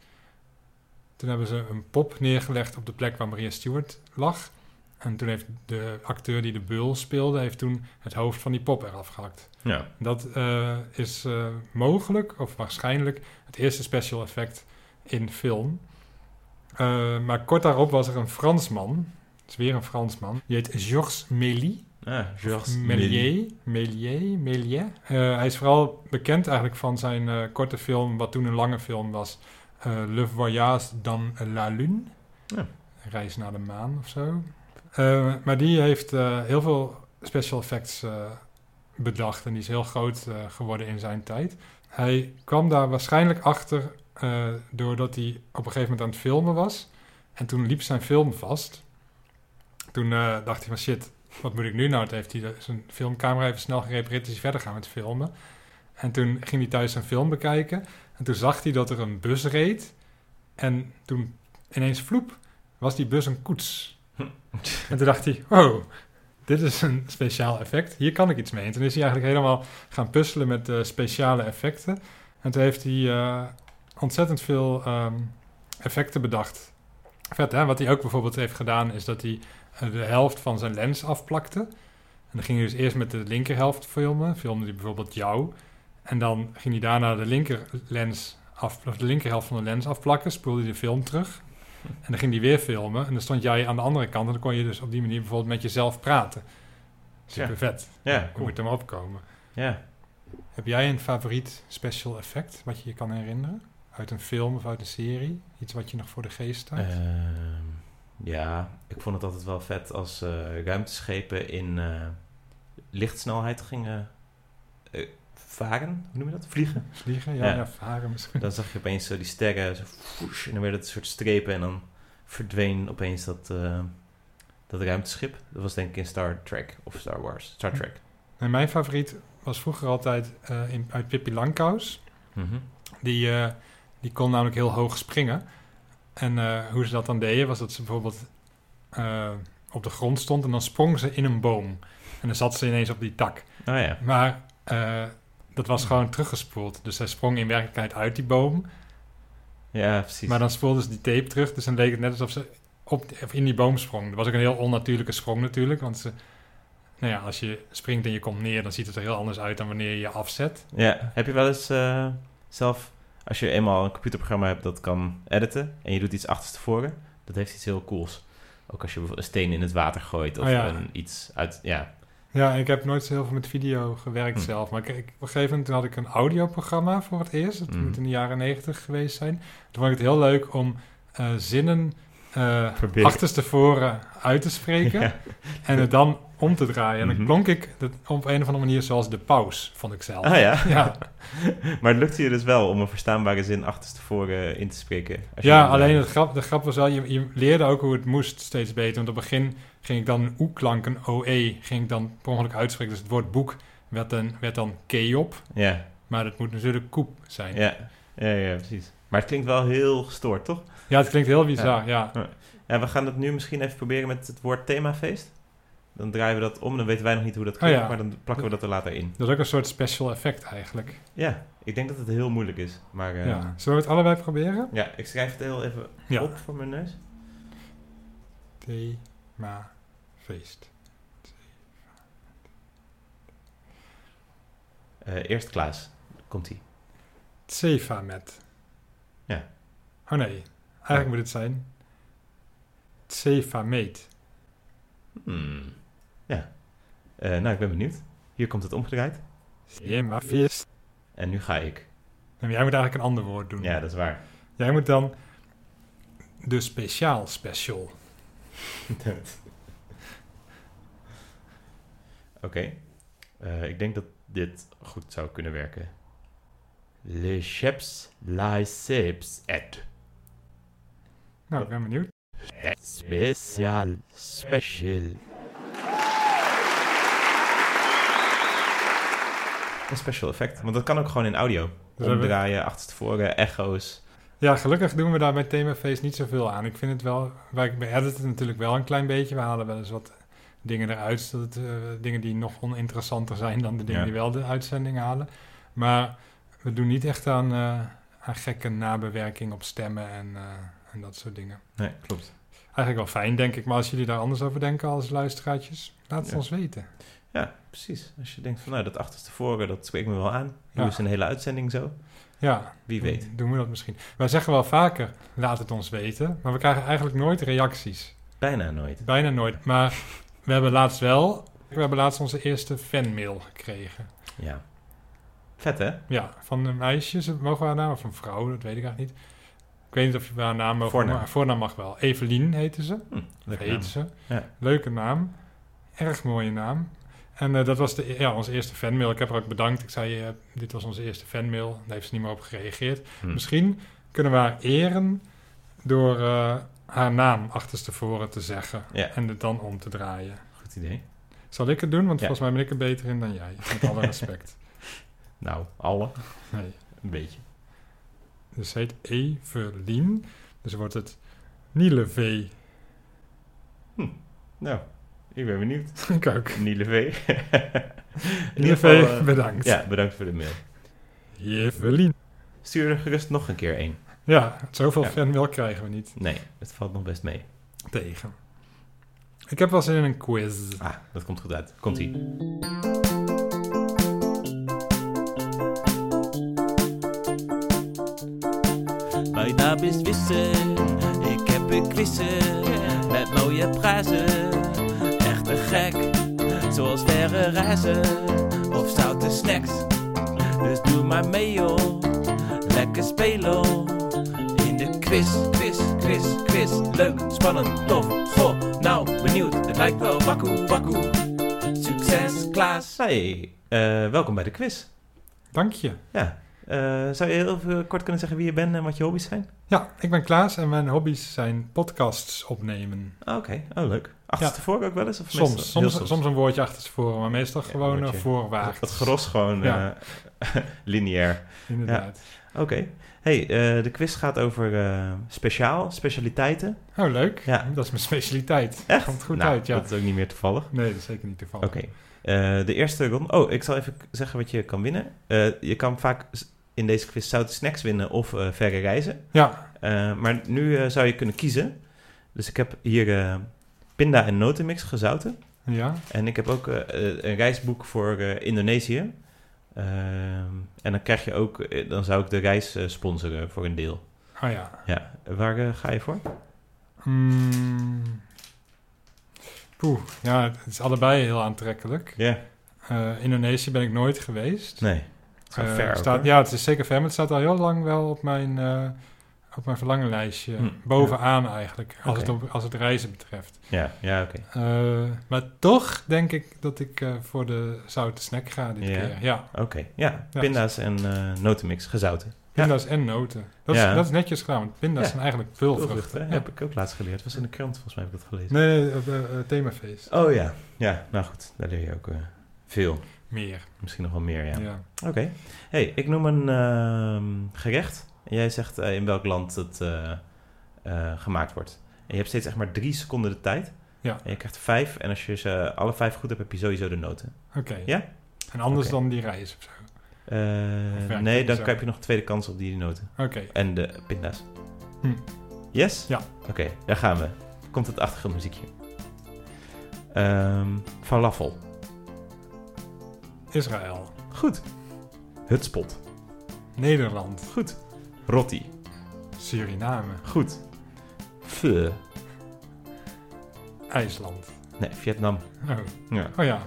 Toen hebben ze een pop neergelegd op de plek waar Maria Stewart lag. En toen heeft de acteur die de beul speelde, heeft toen het hoofd van die pop eraf gehakt.
Ja.
Dat eh, is eh, mogelijk, of waarschijnlijk, het eerste special effect in film. Eh, maar kort daarop was er een Fransman, het is weer een Fransman, die heet Georges Mélie.
Ah, Georges Méliès.
Méliès, Méliès, Méliès. Eh, hij is vooral bekend eigenlijk van zijn eh, korte film, wat toen een lange film was, eh, Le Voyage dans la Lune.
Ja.
Reis naar de maan of zo. Eh, maar die heeft eh, heel veel special effects eh, bedacht en die is heel groot eh, geworden in zijn tijd. Hij kwam daar waarschijnlijk achter eh, doordat hij op een gegeven moment aan het filmen was. En toen liep zijn film vast. Toen eh, dacht hij van shit, wat moet ik nu nou? Toen heeft hij de- zijn filmcamera even snel gerepareerd, is hij verder gaan met filmen. En toen ging hij thuis zijn film bekijken. En toen zag hij dat er een bus reed. En toen ineens vloep, was die bus een koets. En toen dacht hij, wow, dit is een speciaal effect. Hier kan ik iets mee. En toen is hij eigenlijk helemaal gaan puzzelen met eh, speciale effecten. En toen heeft hij eh, ontzettend veel ehm, effecten bedacht. Vet, hè? Wat hij ook bijvoorbeeld heeft gedaan, is dat hij eh, de helft van zijn lens afplakte. En dan ging hij dus eerst met de linkerhelft filmen. Filmde hij bijvoorbeeld jou. En dan ging hij daarna de, linker lens af, of de linkerhelft van de lens afplakken. Spoelde hij de film terug. En dan ging hij weer filmen. En dan stond jij aan de andere kant. En dan kon je dus op die manier bijvoorbeeld met jezelf praten. Super vet.
Ja,
Je moet er maar opkomen.
ja.
Heb jij een favoriet special effect wat je je kan herinneren? Uit een film of uit een serie? Iets wat je nog voor de geest staat?
Ehm, ja, ik vond het altijd wel vet als eh, ruimteschepen in eh, lichtsnelheid gingen eh, varen. Hoe noem je dat? Vliegen.
Vliegen? Ja,
ja.
ja. varen misschien.
Dan zag je opeens eh, die sterren, zo foesh, en dan werden het een soort strepen en dan verdween opeens dat, eh, dat ruimteschip. Dat was denk ik in Star Trek of Star Wars. Star
Hm.
Trek.
En mijn favoriet was vroeger altijd eh, in, uit Pippi Langkous.
Mhm.
Die, eh, die kon namelijk heel hoog springen. En eh, hoe ze dat dan deden, was dat ze bijvoorbeeld eh, op de grond stond en dan sprong ze in een boom. En dan zat ze ineens op die tak.
Oh ja.
Maar eh, dat was gewoon teruggespoeld. Dus zij sprong in werkelijkheid uit die boom.
Ja, precies.
Maar dan spoelde ze die tape terug. Dus dan leek het net alsof ze op, of in die boom sprong. Dat was ook een heel onnatuurlijke sprong natuurlijk. Want ze, nou ja, als je springt en je komt neer, dan ziet het er heel anders uit dan wanneer je je afzet.
Ja, heb je wel eens eh, zelf, als je eenmaal een computerprogramma hebt dat kan editen en je doet iets achterstevoren, dat heeft iets heel cools. Ook als je bijvoorbeeld een steen in het water gooit of
Oh ja.
een, iets uit, ja.
Ja, ik heb nooit zo heel veel met video gewerkt
Hm.
zelf. Maar ik, ik- op een gegeven moment had ik een audioprogramma voor het eerst. Dat
Mhm.
moet in de jaren negentig geweest zijn. Toen vond ik het heel leuk om eh, zinnen eh
Probeer.
achterstevoren uit te spreken.
Ja.
En het dan om te draaien. En dan
Mhm.
klonk ik dat op een of andere manier zoals de paus, vond ik zelf.
Ah ja.
Ja.
maar het lukte je dus wel om een verstaanbare zin achterstevoren in te spreken. Als je
Ja,
dan, eh,
alleen het grap, de grap was wel, je, je leerde ook hoe het moest steeds beter. Want op het begin ging ik dan een oe-klank, een oe, ging ik dan per ongeluk uitspreken. Dus het woord boek werd, een, werd dan keop,
Ja,
maar dat moet natuurlijk koep zijn. Ja,
ja, ja, ja, precies. Maar het klinkt wel heel gestoord, toch?
het klinkt heel bizar, ja.
Ja, we gaan dat nu misschien even proberen met het woord themafeest. Dan draaien we dat om, dan weten wij nog niet hoe dat
Oh
klinkt,
ja.
maar dan plakken we dat er later in.
Dat is ook een soort special effect eigenlijk.
Ja, ik denk dat het heel moeilijk is, maar...
Ja.
eh,
Zullen we het allebei proberen?
Ja, ik schrijf het heel even
Ja.
op voor mijn neus.
Thema feest.
Eh, eerst Klaas. Komt-ie.
Tsefa met.
Ja.
Oh nee, eigenlijk moet het zijn. Tsefa meet.
Hmm. Ja. Eh, nou, ik ben benieuwd. Hier komt het omgedraaid.
Thema feest.
En nu ga ik.
En jij moet eigenlijk een ander woord doen.
Ja, dat is waar.
Jij moet dan de speciaal special.
Oké. Eh, ik denk dat dit goed zou kunnen werken. Le chefs liceps et
Nou, ik ben benieuwd.
special special. Een special effect, want dat kan ook gewoon in audio.
Dus
Omdraaien, achterstevoren, echo's.
Ja, gelukkig doen we daar bij Themafeest niet zoveel aan. Ik vind het wel, wij we editen het natuurlijk wel een klein beetje. We halen wel eens wat dingen eruit, zodat, eh, dingen die nog oninteressanter zijn dan de dingen
Ja.
die wel de uitzending halen. Maar we doen niet echt aan, eh, aan gekke nabewerking op stemmen en, eh, en dat soort dingen.
Nee, klopt.
Eigenlijk wel fijn, denk ik. Maar als jullie daar anders over denken als luisteraartjes, laat het
Ja.
ons weten.
Ja, precies. Als je denkt van nou, dat achterstevoren, dat spreekt me wel aan. Nu
Ja.
is een hele uitzending zo.
Ja,
Wie
Dan
weet.
Doen we dat misschien. Wij zeggen wel vaker, laat het ons weten. Maar we krijgen eigenlijk nooit reacties.
Bijna nooit.
Bijna nooit. Maar we hebben laatst wel... We hebben laatst onze eerste fanmail gekregen.
Ja. Vet hè?
Ja, van een meisje. Ze- Mogen we haar naam? Of een vrouw? Dat weet ik eigenlijk niet. Ik weet niet of we haar naam mogen
Voornaam.
maar voornaam mag wel. Evelien heette ze.
Hm,
Of
leuke
heet
naam.
ze.
Ja.
Leuke naam. Erg mooie naam. En eh, dat was de, ja, onze eerste fanmail. Ik heb haar ook bedankt. Ik zei, eh, dit was onze eerste fanmail. Daar heeft ze niet meer op gereageerd.
Hm.
Misschien kunnen we haar eren door eh, haar naam achterstevoren te zeggen
Ja.
en het dan om te draaien.
Goed idee.
Zal ik het doen? Want
Ja.
volgens mij ben ik er beter in dan jij. Met alle respect.
Nou, alle.
Nee.
Een beetje.
Dus ze heet Evelien. Dus wordt het Niele V.
Nou, ik ben benieuwd.
ik ook.
Niele V. In
Niele
ieder
V,
geval, eh,
bedankt.
Ja, bedankt voor de mail.
Evelien.
Stuur er gerust nog een keer één.
Ja, zoveel
Ja.
fanmail krijgen we niet
Nee, het valt nog best mee.
tegen. Ik heb wel zin in een quiz.
Ah, dat komt goed uit. Komt-ie.
Mijn naam is Wisse, ik heb vissen met mooie prijzen. Echt te gek, zoals verre reizen of zoute snacks. Dus doe maar mee joh, lekker spelen in de quiz, quiz, quiz, quiz. Leuk, spannend, tof, goh, nou benieuwd, het lijkt wel wakkoe, wakkoe. Succes Klaas.
Hey, Ah, eh, welkom bij de quiz.
Dank je.
Ja. Eh, zou je heel even kort kunnen zeggen wie je bent en wat je hobby's zijn?
Ja, ik ben Klaas en mijn hobby's zijn podcasts opnemen.
Ah, Oké, oh leuk. Achter
Ja.
tevoren ook wel eens? Of meestal-
Soms,
heel
soms, soms een woordje achter tevoren, maar meestal
Ja,
gewoon
woordje.
eh, voorwaarts.
Het gros gewoon
Ja.
eh, lineair.
Inderdaad.
Oké. Hey, eh, de quiz gaat over eh, speciaal, specialiteiten.
Oh, leuk.
Ja.
Dat is mijn specialiteit.
Echt?
Komt goed
Nou,
uit, ja.
Dat is ook niet meer toevallig.
Nee, dat is zeker niet toevallig.
Oké. Eh, de eerste ronde. Oh, ik zal even k- zeggen wat je kan winnen. Eh, je kan vaak s- in deze quiz zoute snacks winnen of eh, verre reizen.
Ja,
Eh, maar nu eh, zou je kunnen kiezen. Dus ik heb hier eh, pinda en notenmix gezouten.
ja.
En ik heb ook eh, eh, een reisboek voor eh, Indonesië. Ehm, en dan krijg je ook, eh, dan zou ik de reis eh, sponsoren voor een deel.
Oh ja.
Ja, waar eh, ga je voor?
Mm. Poeh, ja, het is allebei heel aantrekkelijk.
Ja,
Eh, Indonesië ben ik nooit geweest.
nee. Het is wel
Eh,
ver ook,
staat,
hoor.
ja, het is zeker ver, maar het staat al heel lang wel op mijn, eh op mijn verlangenlijstje.
Hm,
Bovenaan eigenlijk, als,
Oké.
het op- als het reizen betreft.
ja, ja oké.
Eh, maar toch denk ik dat ik eh, voor de zoute snack ga dit
Ja.
keer. Ja,
Oké, ja.
Ja.
Pinda's en eh, notenmix, gezouten.
pinda's en noten. Dat,
Ja.
is, dat is netjes gedaan, want pinda's
Ja.
zijn eigenlijk
Pulvruchten,
pulvruchten.
hè?
Ja.
heb ik ook laatst geleerd. was in de krant, volgens mij heb ik dat gelezen.
Nee, nee, op, eh, eh, themafeest.
Oh ja, ja. Nou goed, daar leer je ook eh, veel.
Meer,
Misschien nog wel meer, ja.
ja.
Oké. Hey, ik noem een ehm, gerecht. En jij zegt eh, in welk land het eh, eh, gemaakt wordt. En je hebt steeds echt maar drie seconden de tijd.
Ja.
En je krijgt vijf. En als je ze alle vijf goed hebt, heb je sowieso de noten.
Oké.
Ja?
En anders
Oké.
dan die reis of zo.
Eh,
werkt
nee,
het
dan
zo?
heb je nog een tweede kans op die noten.
Oké.
En de pinda's.
Hm.
Yes?
Ja.
Oké, daar gaan we. Komt het achtergrondmuziekje. Ehm falafel.
Israël.
Goed. Hutspot.
Nederland.
Goed. Rotti.
Suriname.
Goed. Pho.
IJsland.
Nee, Vietnam.
Oh,
Ja.
oh ja.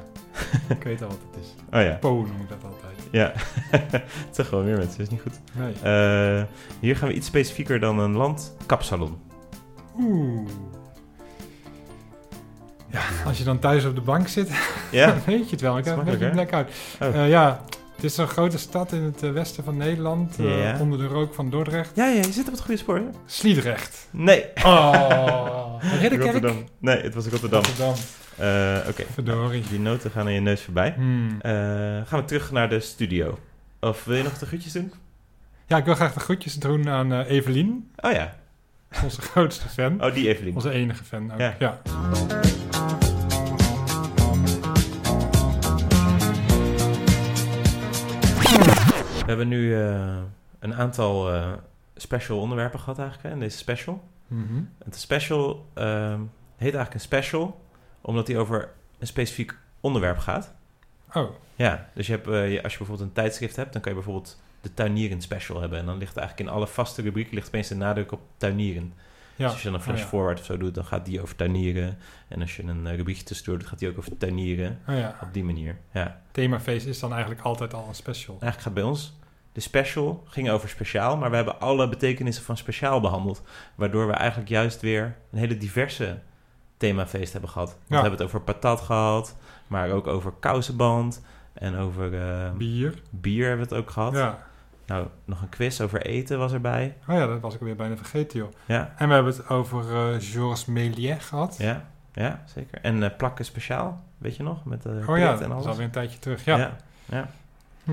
ik weet al wat het is.
Oh ja.
Po noem ik dat altijd.
Ja, het zeggen wel meer mensen, dat is niet goed.
Nee.
Eh, hier gaan we iets specifieker dan een land. Kapsalon.
Oeh. Ja, als je dan thuis op de bank zit,
Ja?
dan weet je het wel. Ik
Dat
heb
is
een beetje een
makkelijk,
blackout.
Oh.
Eh, ja, het is een grote stad in het eh, westen van Nederland. eh,
Ja.
Onder de rook van Dordrecht.
ja, ja, je zit op het goede spoor. hè?
Sliedrecht.
Nee.
Oh. Ridderkerk.
Rotterdam. Nee, het was Rotterdam.
Rotterdam.
Eh, Oké,
Verdorie.
die noten gaan aan je neus voorbij.
Hmm.
Eh, gaan we terug naar de studio. Of wil je nog de groetjes doen?
Ja, ik wil graag de groetjes doen aan eh, Evelien,
Oh ja,
onze grootste fan.
oh die Evelien.
Onze enige fan ook.
Ja.
Ja.
We hebben nu eh, een aantal eh, special onderwerpen gehad eigenlijk hè, in deze special.
Mhm.
Het special ehm, heet eigenlijk een special, omdat die over een specifiek onderwerp gaat.
Oh,
Ja, dus je hebt, eh, je- als je bijvoorbeeld een tijdschrift hebt, dan kan je bijvoorbeeld de tuinieren special hebben. En dan ligt eigenlijk in alle vaste rubrieken ligt opeens de nadruk op tuinieren.
ja.
Dus als je dan een flash
Oh, ja.
forward of zo doet, dan gaat die over tuinieren. En als je een eh, rubriekje tussendoor doet, gaat die ook over tuinieren.
Oh ja,
Op die manier, ja.
themafeest is dan eigenlijk altijd al een special.
Eigenlijk gaat bij ons, de special ging over speciaal, maar we hebben alle betekenissen van speciaal behandeld. Waardoor we eigenlijk juist weer een hele diverse themafeest hebben gehad. Want
Ja.
We hebben het over patat gehad, maar ook over kousenband en over eh,
Bier.
bier hebben we het ook gehad.
Ja.
Nou, nog een quiz over eten was erbij.
Oh ja, dat was ik weer bijna vergeten, joh.
Ja,
En we hebben het over eh, Georges Méliès gehad.
ja, ja zeker. En eh, plakken speciaal, weet je nog? Met de
oh ja,
en
dat
alles.
is alweer een tijdje terug. Ja.
ja. Ja.
Hm.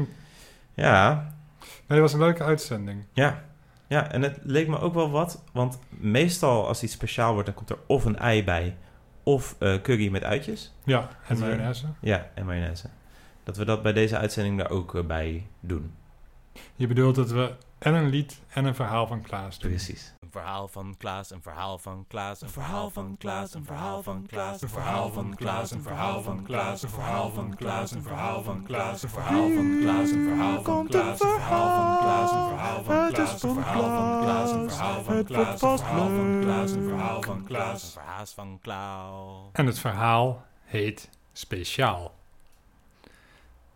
ja,
Nee, dat was een leuke uitzending.
ja. Ja, en het leek me ook wel wat, want meestal als iets speciaal wordt, dan komt er of een ei bij, of eh, curry met uitjes.
Ja, en
is weer-
mayonaise.
Ja, en mayonaise. Dat we dat bij deze uitzending daar ook eh, bij doen.
Je bedoelt dat we en een lied en een verhaal van Klaas doen.
Precies. verhaal van Klaas, een verhaal van Klaas, een
Een
verhaal van Klaas, een verhaal van Klaas, een verhaal van Klaas, een verhaal van Klaas, een verhaal van Klaas, een verhaal van Klaas, een verhaal van Klaas, een verhaal van
Komt
Klaas, een verhaal van Klaas, een verhaal van
Het is
Klaas, een
van
verhaal van Klaas, een verhaal van
Het
Klaas,
wordt
een
vast
verhaal van Klaas, een verhaal
leuk.
van Klaas, een verhaal van Klaas.
En het verhaal heet Speciaal.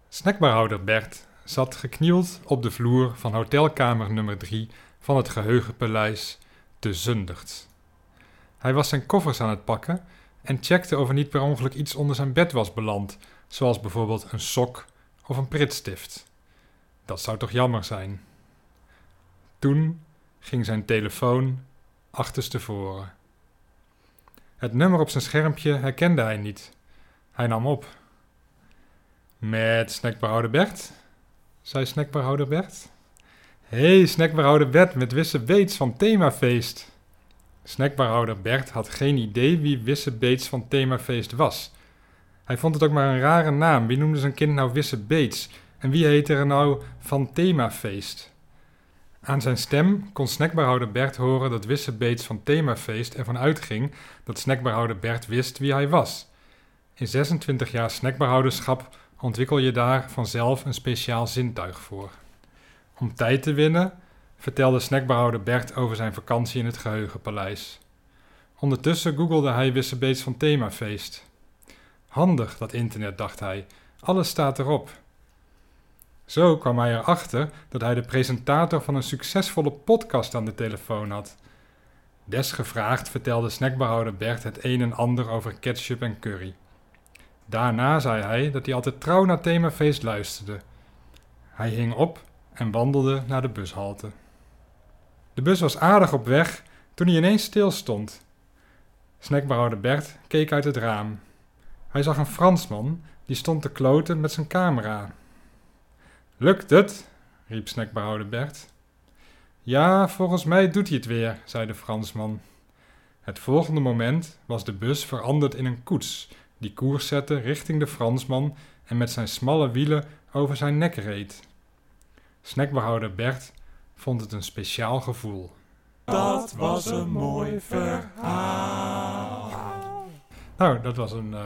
Snackbarhouder Bert zat geknield op de vloer van hotelkamer nummer 3 van het geheugenpaleis te Zundert. Hij was zijn koffers aan het pakken en checkte of er niet per ongeluk iets onder zijn bed was beland, zoals bijvoorbeeld een sok of een pritstift. Dat zou toch jammer zijn. Toen ging zijn telefoon achterstevoren. Het nummer op zijn schermpje herkende hij niet. Hij nam op. Met snackbarhouder Bert? zei snackbarhouder Bert. Hé, hey, snackbarhouder Bert met Wisse Beets van Themafeest. Snackbarhouder Bert had geen idee wie Wisse Beets van Themafeest was. Hij vond het ook maar een rare naam. Wie noemde zijn kind nou Wisse Beets? En wie heette er nou van Themafeest? Aan zijn stem kon snackbarhouder Bert horen dat Wisse Beets van Themafeest ervan uitging dat snackbarhouder Bert wist wie hij was. In 26 jaar snackbarhouderschap ontwikkel je daar vanzelf een speciaal zintuig voor. Om tijd te winnen vertelde snackbarhouder Bert over zijn vakantie in het geheugenpaleis. Ondertussen googelde hij Wissebeets van Themafeest. Handig, dat internet, dacht hij. Alles staat erop. Zo kwam hij erachter dat hij de presentator van een succesvolle podcast aan de telefoon had. Desgevraagd vertelde snackbehouder Bert het een en ander over ketchup en curry. Daarna zei hij dat hij altijd trouw naar themafeest luisterde. Hij hing op en wandelde naar de bushalte. De bus was aardig op weg toen hij ineens stilstond. Snackbehouder Bert keek uit het raam. Hij zag een Fransman die stond te kloten met zijn camera. Lukt het? riep snackbehouder Bert. Ja, volgens mij doet hij het weer, zei de Fransman. Het volgende moment was de bus veranderd in een koets, die koers zette richting de Fransman en met zijn smalle wielen over zijn nek reed. Snackbehouder Bert vond het een speciaal gevoel.
Dat was een mooi verhaal.
Nou, dat was een eh,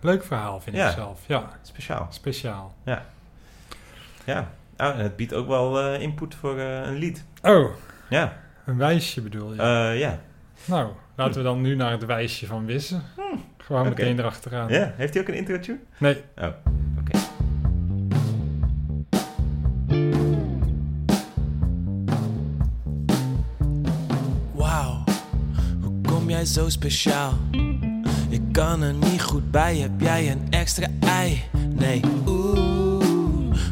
leuk verhaal, vind
Ja.
ik zelf. Ja,
Speciaal.
speciaal.
Ja. Ah, en het biedt ook wel eh, input voor eh, een lied.
Oh,
Ja.
een wijsje bedoel je?
Eh, ja.
nou, laten we dan nu naar het wijsje van Wissen. Gewoon
Hm. oké.
meteen erachteraan.
Ja. Heeft hij ook een Oh. intro tune?
Nee,
Wauw, hoe kom jij zo speciaal? Ik kan er niet goed bij, heb jij een extra ei? Nee, oeh,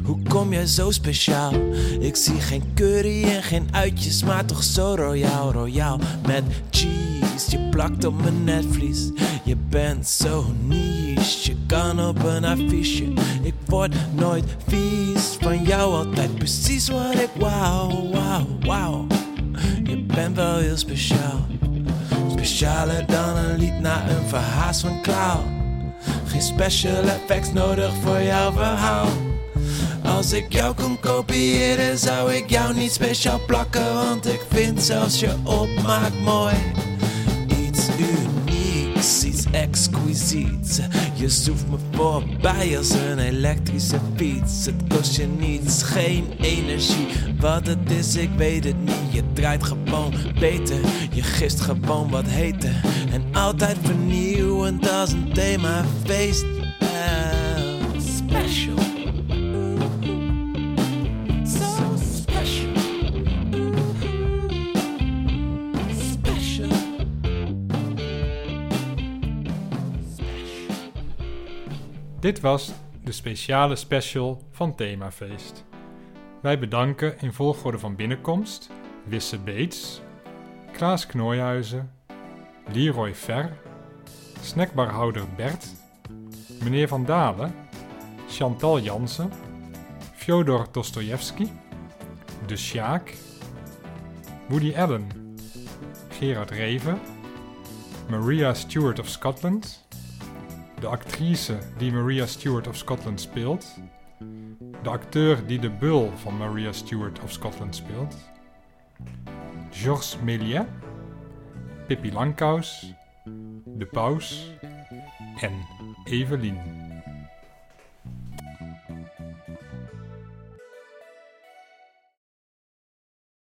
hoe kom jij zo speciaal? Ik zie geen curry en geen uitjes, maar toch zo royaal, royaal met cheese. Je plakt op mijn netvlies, je bent zo niche. Je kan op een affiche, ik word nooit vies van jou, altijd precies wat ik wou, wauw, wauw. Je bent wel heel speciaal. Specialer dan een lied na een verhaas van klauw. Geen special effects nodig voor jouw verhaal. Als ik jou kon kopiëren, zou ik jou niet speciaal plakken. Want ik vind zelfs je opmaak mooi. Iets unieks, iets exquisiets. Je zoeft me voorbij als een elektrische fiets. Het kost je niets, geen energie. Wat het is, ik weet het niet. Je draait gewoon beter, je gist gewoon wat heter. En altijd vernieuwend als een themafeest. Eh, Special. So special. Special.
Dit was de speciale special van Themafeest. Wij bedanken in volgorde van binnenkomst Wisse Beets, Klaas Knooihuizen, Leroy Ver, snackbarhouder Bert, meneer Van Dalen, Chantal Jansen, Fyodor Dostojevski, De Sjaak, Woody Allen, Gerard Reven, Maria Stewart of Scotland, de actrice die Maria Stewart of Scotland speelt. De acteur die de bul van Maria Stewart of Scotland speelt. Georges Méliès, Pippi Langkous, De Paus en Evelien.